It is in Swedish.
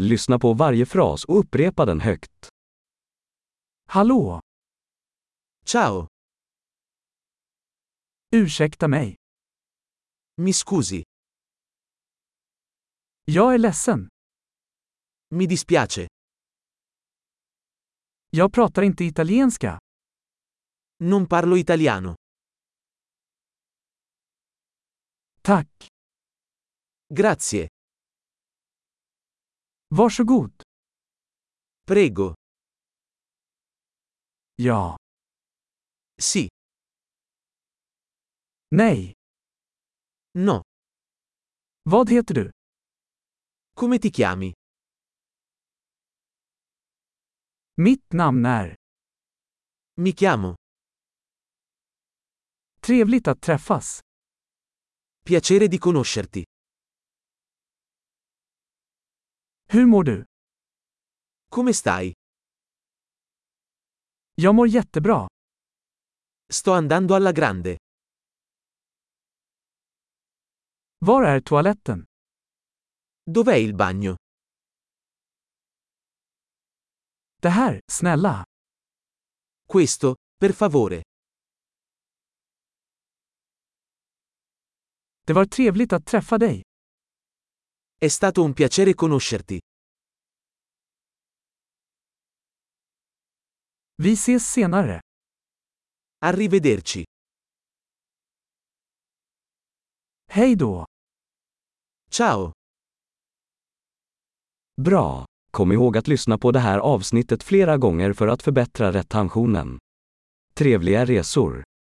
Lyssna på varje fras och upprepa den högt. Hallå! Ciao, Ursäkta mig. mi scusi, Jag är ledsen. mi dispiace, Jag pratar inte italienska. non parlo italiano. Tack. Grazie, Varsågod. prego, Ja. sì, Nej. no, Vad heter du? come ti chiami? Mitt namn är. Mi chiamo, Trevligt att träffas. piacere di conoscerti. Hur mår du? Come stai? Jag mår jättebra. Sto andando alla grande. Var är toaletten? Dov'è il bagno? Det här, snälla. Questo, per favore. Det var trevligt att träffa dig. È stato un piacere conoscerti. Vi ses senare. Arrivederci. Hej då! Ciao. Bra! Kom ihåg att lyssna på det här avsnittet flera gånger för att förbättra retentionen. Trevliga resor!